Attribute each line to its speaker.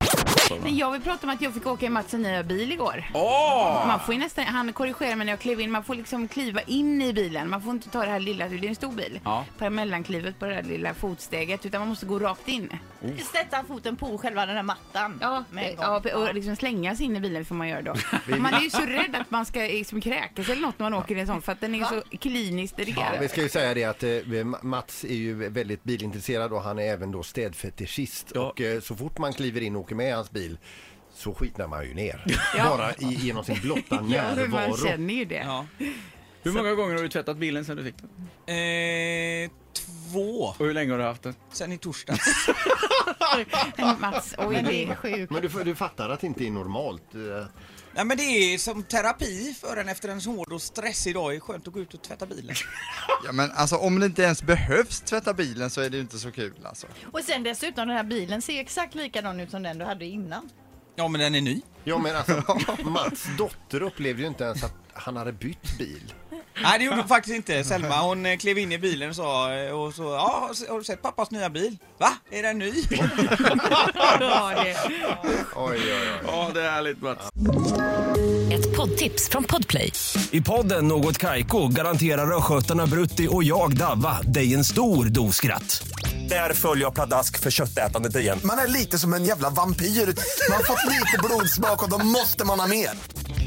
Speaker 1: alltså.
Speaker 2: Men jag vill prata om att jag fick åka i Mats nya bil igår.
Speaker 1: Åh!
Speaker 2: Man får ju nästan, han korrigerar mig när jag klev in, man får liksom kliva in i bilen. Man får inte ta det här lilla, det är en stor bil,
Speaker 1: Ja.
Speaker 2: på det här mellanklivet på det här lilla fotsteget utan man måste gå rakt in.
Speaker 3: Sätta foten på själva den här mattan.
Speaker 2: Ja,
Speaker 3: med en gång.
Speaker 2: ja och liksom slängas in i bilen får man göra då. Man är ju så rädd att man ska liksom kräkas eller något när man åker i en sån för att den är ju så kliniskt
Speaker 4: Ja, vi
Speaker 2: dirigerad.
Speaker 4: ska ju säga det att eh, Mats är ju väldigt bilintresserad och han är även då städfetischist.
Speaker 1: Ja.
Speaker 4: Och eh, så fort man kliver in och åker med i hans bil så skitnar man ju ner.
Speaker 2: Ja.
Speaker 4: Bara i, genom sin blotta
Speaker 2: Ja, men man
Speaker 4: närvaro.
Speaker 2: känner ju det.
Speaker 1: Ja. Hur många gånger har du tvättat bilen sen du fick den?
Speaker 5: Eh, två.
Speaker 1: Och hur länge har du haft den?
Speaker 5: Sen i torsdags.
Speaker 2: Men Mats, oj det är sjukt.
Speaker 4: Men du, du fattar att det inte är normalt? eh,
Speaker 5: Nej men det är som terapi för en efter en hård och stressig dag. Det är skönt att gå ut och tvätta bilen.
Speaker 6: Ja, men alltså om det inte ens behövs tvätta bilen så är det ju inte så kul alltså.
Speaker 3: Och sen dessutom den här bilen ser exakt likadan ut som den du hade innan.
Speaker 5: Ja men den är ny.
Speaker 4: Ja men alltså Mats dotter upplevde ju inte ens att han hade bytt bil.
Speaker 5: Nej det gjorde hon faktiskt inte Selma. Hon eh, klev in i bilen och sa, eh, och så, ja har du sett pappas nya bil? Va? Är den ny?
Speaker 2: Ja, det.
Speaker 4: Oj, oj, oj.
Speaker 1: Ja, det är härligt Mats.
Speaker 7: Ett poddtips från Podplay.
Speaker 8: I podden Något Kaiko garanterar östgötarna Brutti och jag, Davva, dig en stor dos skratt. Där följer jag pladask för köttätandet igen.
Speaker 9: Man är lite som en jävla vampyr. Man har fått lite blodsmak och då måste man ha mer.